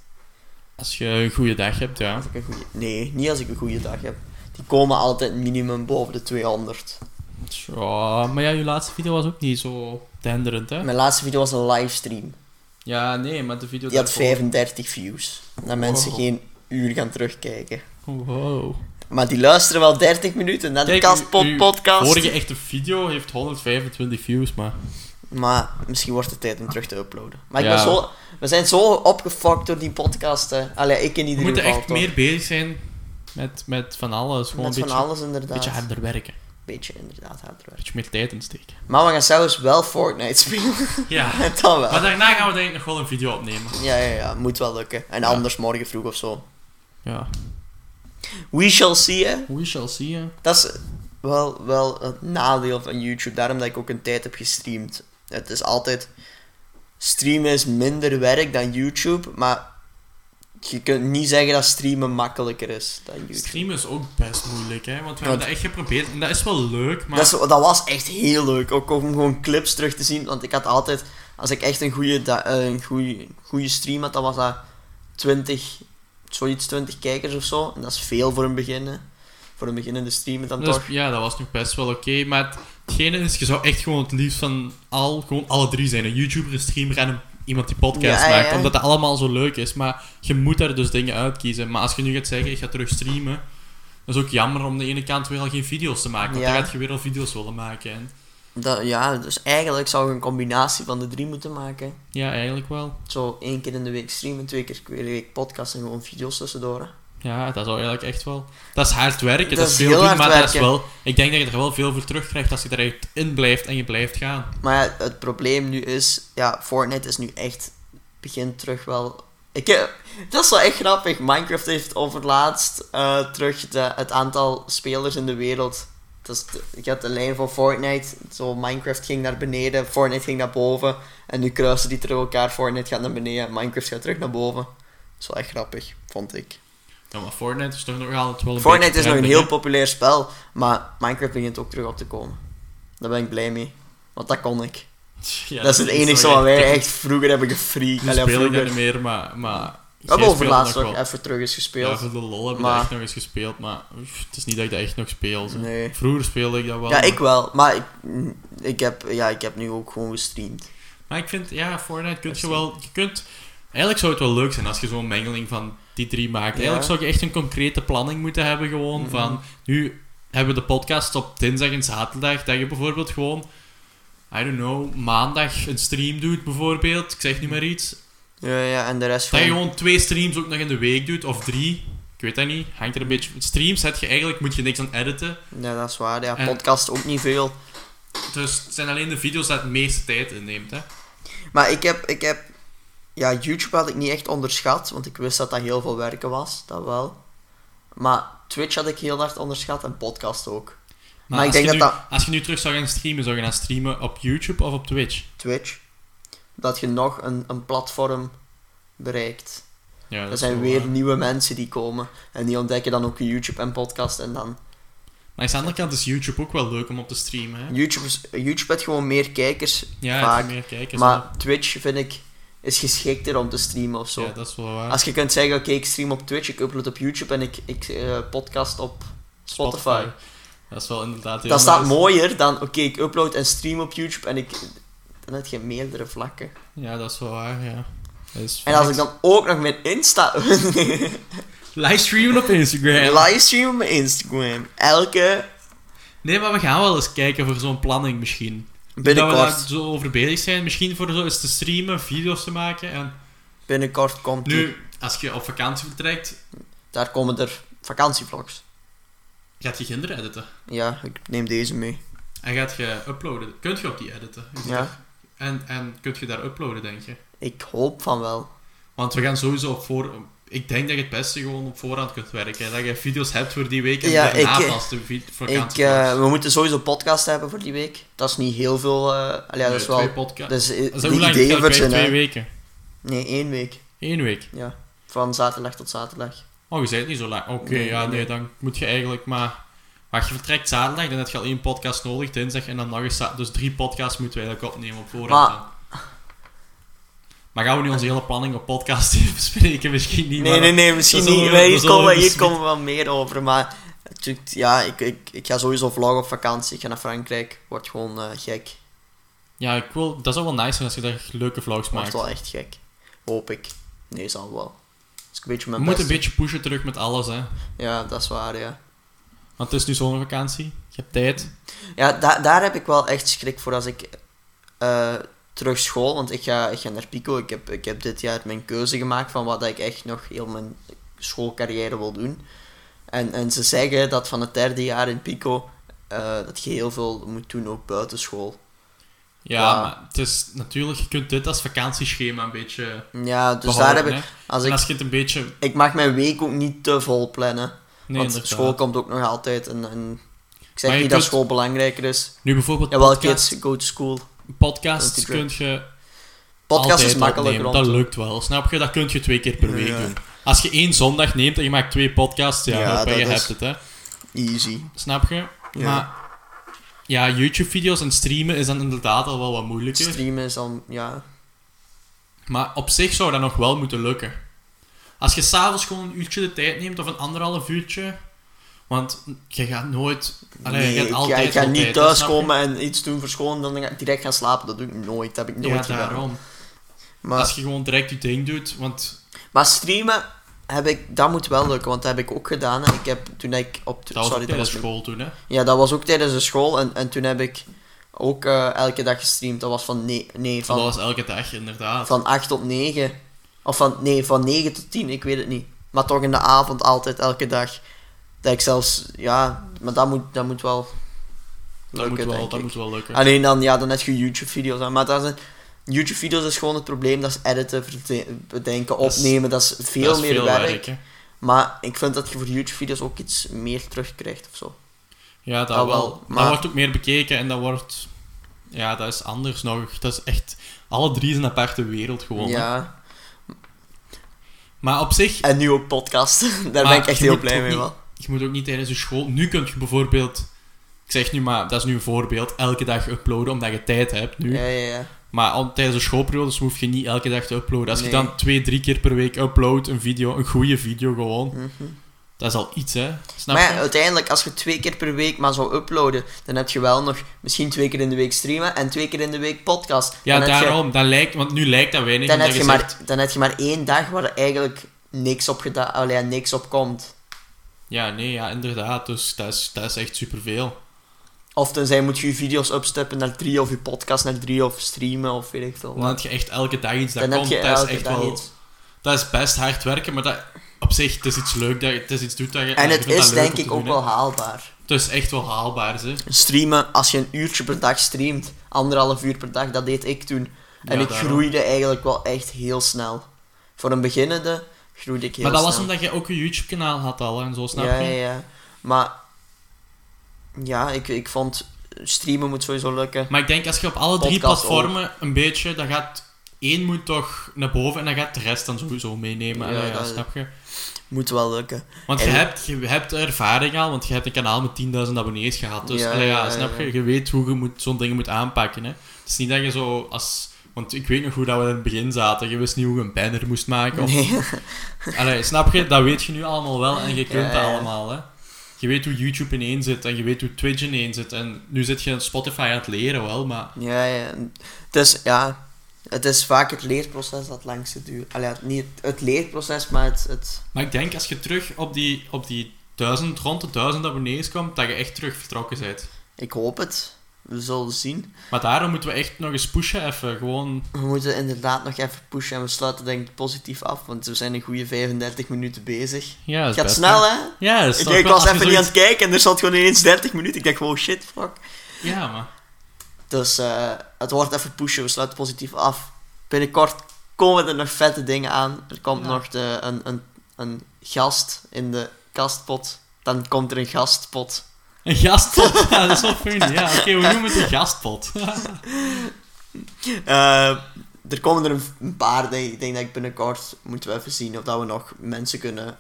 B: Als je een goede dag hebt, ja.
A: Als ik een goeie... Nee, niet als ik een goede dag heb. Die komen altijd minimum boven de 200.
B: Tja, maar ja, je laatste video was ook niet zo tenderend, hè?
A: Mijn laatste video was een livestream.
B: Ja, nee, maar de video...
A: Die had
B: daarvoor- Oh.
A: 35 views. Dat mensen
B: Wow.
A: geen uur gaan terugkijken.
B: Oh, Wow.
A: Maar die luisteren wel 30 minuten naar de
B: Kijk, uw-
A: Kastpot
B: uw
A: podcast.
B: vorige echte video heeft 125 views, maar...
A: Maar misschien wordt het tijd om terug te uploaden. Maar ik
B: Ja.
A: ben zo, we zijn zo opgefokt door die podcasten. Allee, ik in
B: We
A: ieder
B: moeten
A: geval.
B: echt
A: toch.
B: meer bezig zijn met, met van alles. Gewoon
A: Met
B: een
A: van
B: beetje,
A: alles inderdaad.
B: beetje harder werken.
A: beetje inderdaad harder
B: Een
A: werken.
B: beetje meer tijd insteken.
A: Maar we gaan zelfs wel Fortnite <laughs> spelen.
B: Ja.
A: Dan wel.
B: Maar daarna gaan we denk ik nog wel een video opnemen.
A: Ja, ja, ja. Moet wel lukken. En
B: Ja.
A: anders morgen vroeg of zo.
B: Ja.
A: We shall see, hè.
B: We shall see, hè.
A: Dat is wel, wel het nadeel van YouTube. Daarom dat ik ook een tijd heb gestreamd. Het is altijd... Streamen is minder werk dan YouTube, maar... Je kunt niet zeggen dat streamen makkelijker is dan YouTube.
B: Streamen is ook best moeilijk, hè. Want we
A: Ja,
B: hebben dat echt geprobeerd. En dat is wel leuk, maar...
A: Dat, is, dat was echt heel leuk. Ook om gewoon clips terug te zien. Want ik had altijd, als ik echt een goede, da- eh, een goede, goede stream had, dan was dat 20, zoiets 20 kijkers of zo. En dat is veel voor een beginnen. Voor een beginnende streamer dan
B: Dat is-
A: toch.
B: ja, dat was nog best wel oké. maar het- hetgene is, je zou echt gewoon het liefst van al, gewoon alle drie zijn. Een YouTuber, een streamer en een- iemand die podcast
A: Ja, ja,
B: maakt.
A: ja.
B: Omdat dat allemaal zo leuk is. Maar je moet daar dus dingen uitkiezen. Maar als je nu gaat zeggen, ik ga terug streamen. Dat is ook jammer om aan de ene kant weer al geen video's te maken. Want
A: Ja.
B: dan gaat je weer al video's willen maken. En,
A: Dat, ja, dus eigenlijk zou ik een combinatie van de drie moeten maken.
B: ja, eigenlijk wel.
A: Zo één keer in de week streamen, twee keer per week podcast en gewoon video's tussendoor. hè.
B: Ja, dat zou eigenlijk echt wel... Dat is hard werken, dat,
A: Dat
B: is
A: is
B: veel
A: heel
B: doen,
A: hard
B: maar dat is
A: werken.
B: wel... Ik denk dat je er wel veel voor terugkrijgt als je er echt in blijft en je blijft gaan.
A: Maar ja, het probleem nu is, ja, Fortnite is nu echt, begint terug wel. Ik, eh, dat is wel echt grappig. Minecraft heeft overlaatst eh, terug de, het aantal spelers in de wereld. Dus de- ik had de lijn van Fortnite. Zo, Minecraft ging naar beneden, Fortnite ging naar boven. En nu kruisen die terug elkaar. Fortnite gaat naar beneden, Minecraft gaat terug naar boven. Dat is wel echt grappig, vond ik.
B: Ja, maar Fortnite is toch nog altijd wel een
A: Fortnite
B: beetje
A: is nog een
B: trending,
A: heel populair spel, maar Minecraft begint ook terug op te komen. Daar ben ik blij mee. Want dat kon ik.
B: hè? Ja,
A: dat is het
B: toch
A: enige wat
B: echt-
A: wij echt vroeger hebben gefreakt.
B: Nu
A: Allee,
B: speel ik dat
A: vroeger.
B: niet
A: We
B: meer, maar... maar jij
A: hebben
B: speelt
A: overlaatst
B: nog
A: ook
B: wel.
A: even terug eens
B: Ja,
A: gespeeld.
B: voor de lol heb ik
A: Maar-
B: dat echt nog eens gespeeld, maar oef, het is niet dat ik dat echt nog speel. zo.
A: Nee.
B: Vroeger speelde ik dat wel.
A: Ja,
B: maar-
A: ik wel. Maar ik, mm, ik, heb, ja, ik heb nu ook gewoon gestreamd.
B: Maar ik vind, ja, Fortnite kun
A: Dat
B: je
A: is
B: wel... Je kunt... Eigenlijk zou het wel leuk zijn als je zo'n mengeling van die drie maakt.
A: Ja.
B: Eigenlijk zou je echt een concrete planning moeten hebben gewoon
A: Mhm.
B: van... Nu hebben we de podcast op dinsdag en zaterdag, dat je bijvoorbeeld gewoon... I don't know, maandag een stream doet bijvoorbeeld. Ik zeg nu
A: Mhm.
B: maar iets.
A: Ja, ja, en de rest
B: Dat je
A: van...
B: gewoon twee streams ook nog in de week doet, of drie. Ik weet dat niet. Hangt er een beetje... Streams heb je eigenlijk, moet je niks aan editen.
A: Ja, dat is waar. Ja,
B: En-
A: podcast ook niet veel.
B: Dus het zijn alleen de video's dat het meeste tijd inneemt, hè.
A: Maar ik heb, ik heb... Ja, YouTube had ik niet echt onderschat, want ik wist dat dat heel veel werken was. Dat wel. Maar Twitch had ik heel hard onderschat en podcast ook. Maar ik
B: als,
A: denk
B: je
A: dat
B: nu,
A: dat-
B: als je nu terug zou gaan streamen, zou je gaan streamen op YouTube of op Twitch?
A: Twitch. Dat je nog een, een platform bereikt.
B: Ja,
A: Er
B: is
A: zijn
B: wel
A: weer
B: waar.
A: nieuwe mensen die komen. En die ontdekken dan ook YouTube en podcast. En dan...
B: Maar aan de andere kant is YouTube ook wel leuk om op te streamen, hè.
A: YouTube, is- YouTube heeft gewoon meer kijkers.
B: Ja,
A: Vaak.
B: het is meer kijkers.
A: maar Twitch, vind ik, is geschikter om te streamen of zo.
B: Ja, dat is wel waar.
A: Als je kunt zeggen, oké, ik stream op Twitch, ik upload op YouTube en ik, ik eh, podcast op Spotify.
B: Dat is wel inderdaad heel
A: Dat staat
B: nice.
A: mooier dan, oké, ik upload en stream op YouTube en ik... Dan heb je meerdere vlakken.
B: Ja, dat is wel waar, ja. Dat is
A: En als ik
B: facts.
A: dan ook nog mijn Insta... <laughs>
B: Livestreamen op Instagram.
A: livestream op mijn Instagram. Elke...
B: Nee, maar we gaan wel eens kijken voor zo'n planning misschien. Dat we daar
A: Binnenkort,
B: zo over bezig zijn. Misschien voor zo eens te streamen, video's te maken. En
A: binnenkort komt die.
B: nu, als je op vakantie vertrekt,
A: Daar komen er vakantievlogs.
B: gaat je kinderen editen.
A: Ja, ik neem deze mee.
B: En gaat je uploaden. Kunt je op die editen? Is
A: Ja.
B: dat- En, en kunt je daar uploaden, denk je?
A: Ik hoop van wel.
B: Want we gaan sowieso op voor... Ik denk dat je het beste gewoon op voorhand kunt werken. Dat je video's hebt voor die week en
A: Ja,
B: daarna
A: ik- eh,
B: pas de vi-
A: Ik,
B: vakantie.
A: eh,
B: plaatst.
A: we moeten sowieso podcast hebben voor die week. Dat is niet heel veel. eh allee, ja, dat
B: Nee,
A: is
B: twee
A: wel.
B: podca-
A: Dat is eh,
B: Is
A: de
B: dat hoe lang?
A: ideeën
B: Elke
A: voor
B: week
A: zijn.
B: Twee
A: hè.
B: weken.
A: Nee, één week.
B: Eén week.
A: Ja. Van zaterdag tot zaterdag.
B: Oh, je bent niet zo lang. Oké,
A: Nee,
B: ja,
A: nee,
B: nee,
A: nee.
B: dan moet je eigenlijk maar... Wacht, je vertrekt zaterdag, dan heb je al één podcast nodig, dinsdag en dan nog eens... za- Dus drie podcasts moeten we eigenlijk opnemen op voorhand.
A: Maar-
B: dan. Maar gaan we nu onze hele planning op <laughs> podcast bespreken? Misschien niet,
A: Nee,
B: maar-
A: nee, nee, misschien
B: zullen
A: niet.
B: we-
A: Maar
B: dat
A: hier
B: zullen we
A: komen, hier
B: bespreken.
A: komen we wel meer over. Maar natuurlijk, ja, ik, ik, ik ga sowieso vloggen op vakantie. Ik ga naar Frankrijk. Wordt gewoon eh, gek.
B: Ja, ik wil, dat zou wel nice zijn als je daar leuke vlogs
A: Wordt
B: maakt.
A: wel echt gek. Hoop ik. Nee, zal wel. Dus een beetje
B: We
A: mijn
B: moeten een
A: best.
B: beetje pushen terug met alles, hè.
A: Ja, dat is waar, ja.
B: Want het is nu zomervakantie, je hebt tijd.
A: Ja, da daar heb ik wel echt schrik voor als ik eh, terug school, want ik ga, ik ga naar Pico. Ik heb, ik heb dit jaar mijn keuze gemaakt van wat ik echt nog heel mijn schoolcarrière wil doen. En, en ze zeggen dat van het derde jaar in Pico eh, dat je heel veel moet doen ook buiten school.
B: Ja,
A: Ja.
B: maar het is natuurlijk, je kunt dit als vakantieschema een beetje
A: Ja, dus daar
B: behouden,
A: heb ik.
B: hè.
A: Als
B: En
A: ik,
B: als je het een beetje... Nee,
A: ik mag mijn week ook niet te vol plannen. want
B: inderdaad.
A: school komt ook nog altijd. En, en ik zeg
B: Maar je
A: niet dat
B: kunt-
A: school belangrijker is.
B: Nu bijvoorbeeld
A: Jawel,
B: podcast-
A: kids, go to school.
B: podcasts
A: Dat is
B: kun je
A: Podcast
B: altijd
A: is makkelijker
B: opnemen.
A: om
B: Dat lukt wel, snap je? Dat kun je twee keer per week
A: Ja.
B: doen. Als je één zondag neemt en je maakt twee podcasts, ja,
A: Ja,
B: hoppa,
A: dat
B: je
A: is-
B: hebt het, hè.
A: easy.
B: Snap je?
A: Ja.
B: Maar ja, YouTube-video's en streamen is dan inderdaad al wel wat moeilijker.
A: Streamen is dan, ja,
B: Maar op zich zou dat nog wel moeten lukken. Als je s'avonds gewoon een uurtje de tijd neemt, of een anderhalf uurtje. Want je gaat nooit... Allee,
A: nee,
B: je gaat
A: ik,
B: altijd
A: ga, ik ga
B: wel
A: niet
B: tijd, hè, snap je?
A: thuiskomen en iets doen voor school en dan ga ik direct gaan slapen. Dat doe ik nooit. Dat heb ik nooit
B: Ja,
A: gedaan.
B: daarom.
A: Maar,
B: Als je gewoon direct je ding doet, want
A: maar streamen, heb ik, dat moet wel lukken, want dat heb ik ook gedaan. En Ik heb, toen ik op...
B: dat was
A: sorry,
B: ook tijdens
A: mijn-
B: school toen, hè.
A: Ja, dat was ook tijdens de school. En, en toen heb ik ook eh, elke dag gestreamd. Dat was van, nee, nee,
B: Dat
A: van,
B: was elke dag, inderdaad.
A: van 8 tot 9. Of van, nee, van 9 tot 10, ik weet het niet. Maar toch in de avond altijd, elke dag. Dat ik zelfs, ja, maar dat moet, dat moet wel
B: Dat,
A: lukken,
B: moet
A: denk
B: wel,
A: ik.
B: dat moet wel lukken.
A: Alleen dan, ja, dan heb je YouTube-video's aan. Maar dat is een- YouTube-video's is gewoon het probleem. Dat is editen, verde- bedenken,
B: Dat is-
A: opnemen. Dat is veel
B: Dat is
A: meer werk.
B: hè.
A: Maar ik vind dat je voor YouTube-video's ook iets meer terugkrijgt of zo.
B: Ja, dat,
A: Dat Ah, wel,
B: wel.
A: maar-
B: Dat wordt ook meer bekeken en dat wordt... Ja, dat is anders nog. Dat is echt... Alle drie is een aparte wereld gewoon. hè.
A: Ja.
B: Maar op zich,
A: En nu ook podcast. <laughs> Daar
B: Maar
A: ben ik echt
B: je
A: heel
B: moet
A: blij
B: ook
A: mee.
B: niet-
A: Wel.
B: je moet ook niet tijdens je school... Nu kun je bijvoorbeeld... Ik zeg nu maar, dat is nu een voorbeeld. Elke dag uploaden, omdat je tijd hebt nu.
A: Ja, ja, ja.
B: Maar om- tijdens de schoolperiodes hoef je niet elke dag te uploaden. Als je
A: Nee.
B: dan twee, drie keer per week uploadt, een video, een goede video gewoon.
A: Mhm.
B: Dat is al iets, hè. Snap
A: Maar ja,
B: je?
A: uiteindelijk, als je twee keer per week maar zou uploaden, dan heb je wel nog misschien twee keer in de week streamen en twee keer in de week podcast.
B: Ja,
A: dan heb je-
B: daarom. Dat lijkt, want nu lijkt dat weinig.
A: dan
B: omdat
A: heb je,
B: zegt-
A: maar, dan heb je maar één dag waar er eigenlijk niks op, geda- allee, niks op komt.
B: Ja, nee, ja, inderdaad. Dus dat is, dat is echt superveel.
A: Of tenzij moet je je video's upsteppen naar drie, of je podcast naar drie, of streamen, of weet ik veel. wat.
B: Dan heb je echt elke dag iets dat
A: Dan heb
B: komt.
A: je
B: dat
A: elke
B: is echt
A: dag
B: wel...
A: iets.
B: Dat is best hard werken, maar dat, op zich, het is iets leuk. Dat, je- het is iets doet dat je...
A: En
B: je
A: het
B: vindt dat
A: is
B: leuk om
A: denk
B: te
A: ik
B: doen,
A: ook
B: hè.
A: wel haalbaar.
B: Het is echt wel haalbaar, ze.
A: Streamen, als je een uurtje per dag streamt, anderhalf uur per dag, dat deed ik toen. En
B: Ja,
A: ik
B: daarom.
A: groeide eigenlijk wel echt heel snel. Voor een beginnende groeide ik heel
B: Maar dat
A: snel.
B: was omdat je ook een YouTube-kanaal had al en zo, snap
A: ja,
B: je?
A: ja, ja. Maar ja, ik, ik vond streamen moet sowieso lukken.
B: Maar ik denk, als je op alle drie
A: Podcast
B: platformen een beetje... Dan gaat... één moet toch naar boven en dan gaat de rest dan sowieso meenemen.
A: Ja,
B: Ja, ja,
A: dat-
B: snap je?
A: Moet wel lukken.
B: Want je
A: En-
B: hebt, je hebt ervaring al, want je hebt een kanaal met 10.000 abonnees gehad. Dus
A: Ja,
B: allee, ja,
A: ja,
B: snap
A: ja.
B: je? Je weet hoe je moet- zo'n ding moet aanpakken. Hè? Het is niet dat je zo als... Want ik weet nog hoe dat we in het begin zaten. Je wist niet hoe je een banner moest maken. Of,
A: Nee.
B: allee, snap je? Dat weet je nu allemaal wel en je kunt
A: Ja,
B: dat
A: ja.
B: allemaal. Hè? Je weet hoe YouTube ineen zit en je weet hoe Twitch ineen zit. En nu zit je Spotify aan het leren wel, maar...
A: Ja, ja. Het is, ja, het is vaak het leerproces dat langs duurt. Allee, het- niet het, het leerproces, maar het... het
B: Maar ik denk, als je terug op die, op die duizend, rond de duizend abonnees komt, dat je echt terug vertrokken bent.
A: ik hoop het. We zullen zien.
B: Maar daarom moeten we echt nog eens pushen even. Gewoon,
A: We moeten inderdaad nog even pushen en we sluiten denk ik positief af, want we zijn een goede 35 minuten bezig.
B: ja,
A: Het
B: dat is
A: gaat
B: best,
A: snel, hè?
B: hè. Ja, dat is
A: Ik,
B: toch
A: ik
B: wel
A: was
B: even
A: even niet aan
B: zoiets-
A: het kijken en er zat gewoon ineens 30 minuten. Ik dacht, wow, shit, fuck.
B: Ja, maar...
A: Dus eh, het wordt even pushen, we sluiten positief af. Binnenkort komen er nog vette dingen aan. Er komt
B: Ja.
A: nog de, een, een, een gast in de kastpot. Dan komt er een gastpot.
B: Een gastpot, <laughs> ja, dat is wel funny. Ja, oké,
A: <laughs>
B: we noemen het een gastpot.
A: Eh, er komen er een paar, denk ik. Ik denk dat ik binnenkort moeten we even zien of dat we nog mensen kunnen.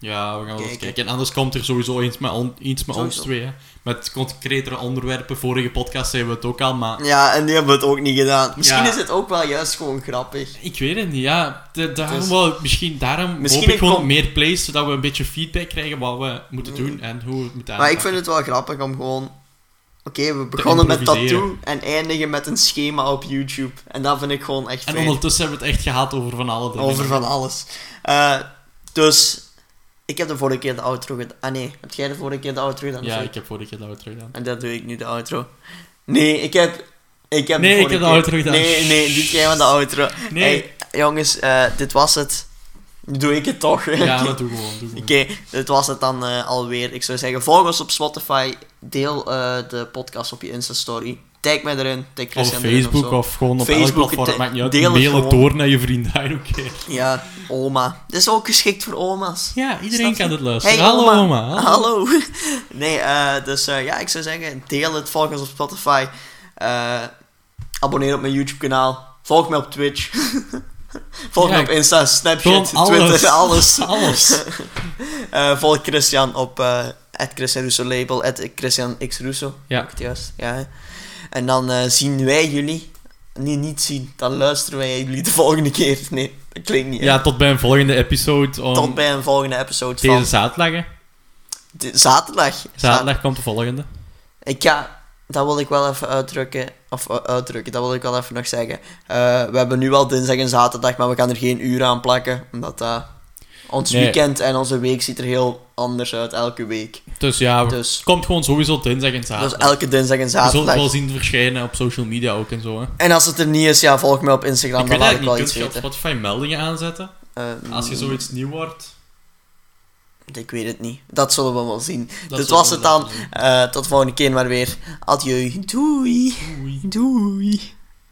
B: Ja, we gaan wel eens
A: Kijk.
B: kijken. En anders komt er sowieso eens met, on- iets met ons
A: Sowieso.
B: twee. Hè. Met concretere onderwerpen. Vorige podcast zeiden we het ook al, maar...
A: Ja, en die hebben het ook niet gedaan. Misschien
B: Ah. Ja.
A: is het ook wel juist gewoon grappig.
B: Ik weet het niet, ja. De- daarom
A: Dus-
B: wou ik- misschien daarom
A: Misschien
B: hoop ik
A: een
B: gewoon
A: com-
B: meer plays, zodat we een beetje feedback krijgen wat we moeten doen en hoe we het moeten
A: Mm. Maar ik
B: aanpakken.
A: vind het wel grappig om gewoon. Oké, we begonnen met
B: improviseren.
A: tattoo en eindigen met een schema op YouTube. En dat vind ik gewoon echt
B: En
A: fijn.
B: ondertussen hebben we het echt gehad over van alle dingen.
A: Over van alles. Eh, dus, ik heb de vorige keer de outro gedaan. Ah nee, heb jij de vorige keer de outro gedaan?
B: Ja,
A: Of
B: ik heb vorige keer dat we terug gedaan.
A: En dat doe ik nu, de outro. Nee, ik heb... Ik heb
B: Nee, ik
A: vorige
B: heb de
A: keer-
B: outro gedaan.
A: Nee, nee, doe jij maar de outro.
B: Nee.
A: Hey, jongens, eh, dit was het. Nu doe ik het toch. <laughs>
B: Ja, dat doe gewoon. Doe gewoon.
A: Oké, dit was het dan eh, alweer. Ik zou zeggen, volg ons op Spotify. Deel eh, de podcast op je Insta-story. Tag mij erin. Tag
B: Of
A: Christian erin
B: Facebook
A: zo.
B: of gewoon op elk
A: Facebook,
B: platform,
A: het-
B: maakt niet uit.
A: deel het
B: Mail het
A: gewoon.
B: door naar je <laughs> vrienden, I don't care.
A: Ja, oma. Dit is ook geschikt voor oma's.
B: Ja, iedereen
A: Snap je?
B: kan dit luisteren.
A: Hey,
B: Hallo
A: oma.
B: oma.
A: Hallo. <laughs> Nee, eh, dus eh, ja, ik zou zeggen, deel het, volg ons op Spotify. Eh, abonneer op mijn YouTube-kanaal. Volg me op Twitch. <laughs> volg
B: Ja,
A: me op Insta, Snapchat,
B: Gewoon alles.
A: Twitter, <laughs> alles.
B: <laughs> Alles.
A: Eh, volg Christian op eh Christian Russo Label, Christian X Russo.
B: Ja.
A: Heb ik het juist? Ja. hè. En dan eh, zien wij jullie. Nee, niet zien. Dan luisteren wij jullie de volgende keer. Nee, dat klinkt niet. hè.
B: Ja, tot bij een volgende episode. Om
A: Tot bij een volgende episode
B: Deze
A: van
B: zaterdag. hè.
A: de- zaterdag.
B: Zaterdag komt de volgende.
A: Ik ga, dat wil ik wel even uitdrukken. Of eh, uitdrukken, dat wil ik wel even nog zeggen. Eh, we hebben nu wel dinsdag en zaterdag, maar we gaan er geen uur aan plakken. Omdat dat ons
B: Nee.
A: weekend en onze week ziet er heel anders uit elke week.
B: Dus ja, we-
A: Dus,
B: het komt gewoon sowieso dinsdag en
A: dus
B: zaterdag.
A: elke dinsdag en
B: Je zult het wel
A: zaterdag.
B: zien verschijnen op social media ook en zo. Hè.
A: En als het er niet is, ja, volg me op Instagram,
B: ik
A: dan
B: weet
A: laat ik
B: eigenlijk
A: wel
B: niet,
A: iets
B: kun je op
A: weten.
B: Spotify meldingen aanzetten?
A: Eh,
B: Als je zoiets nieuw wordt.
A: Ik weet het niet. Dat zullen we wel zien.
B: dat
A: Dit
B: zal
A: was het dan.
B: wel zijn.
A: Eh, tot de volgende keer maar weer. Adieu. Doei.
B: Doei.
A: Doei.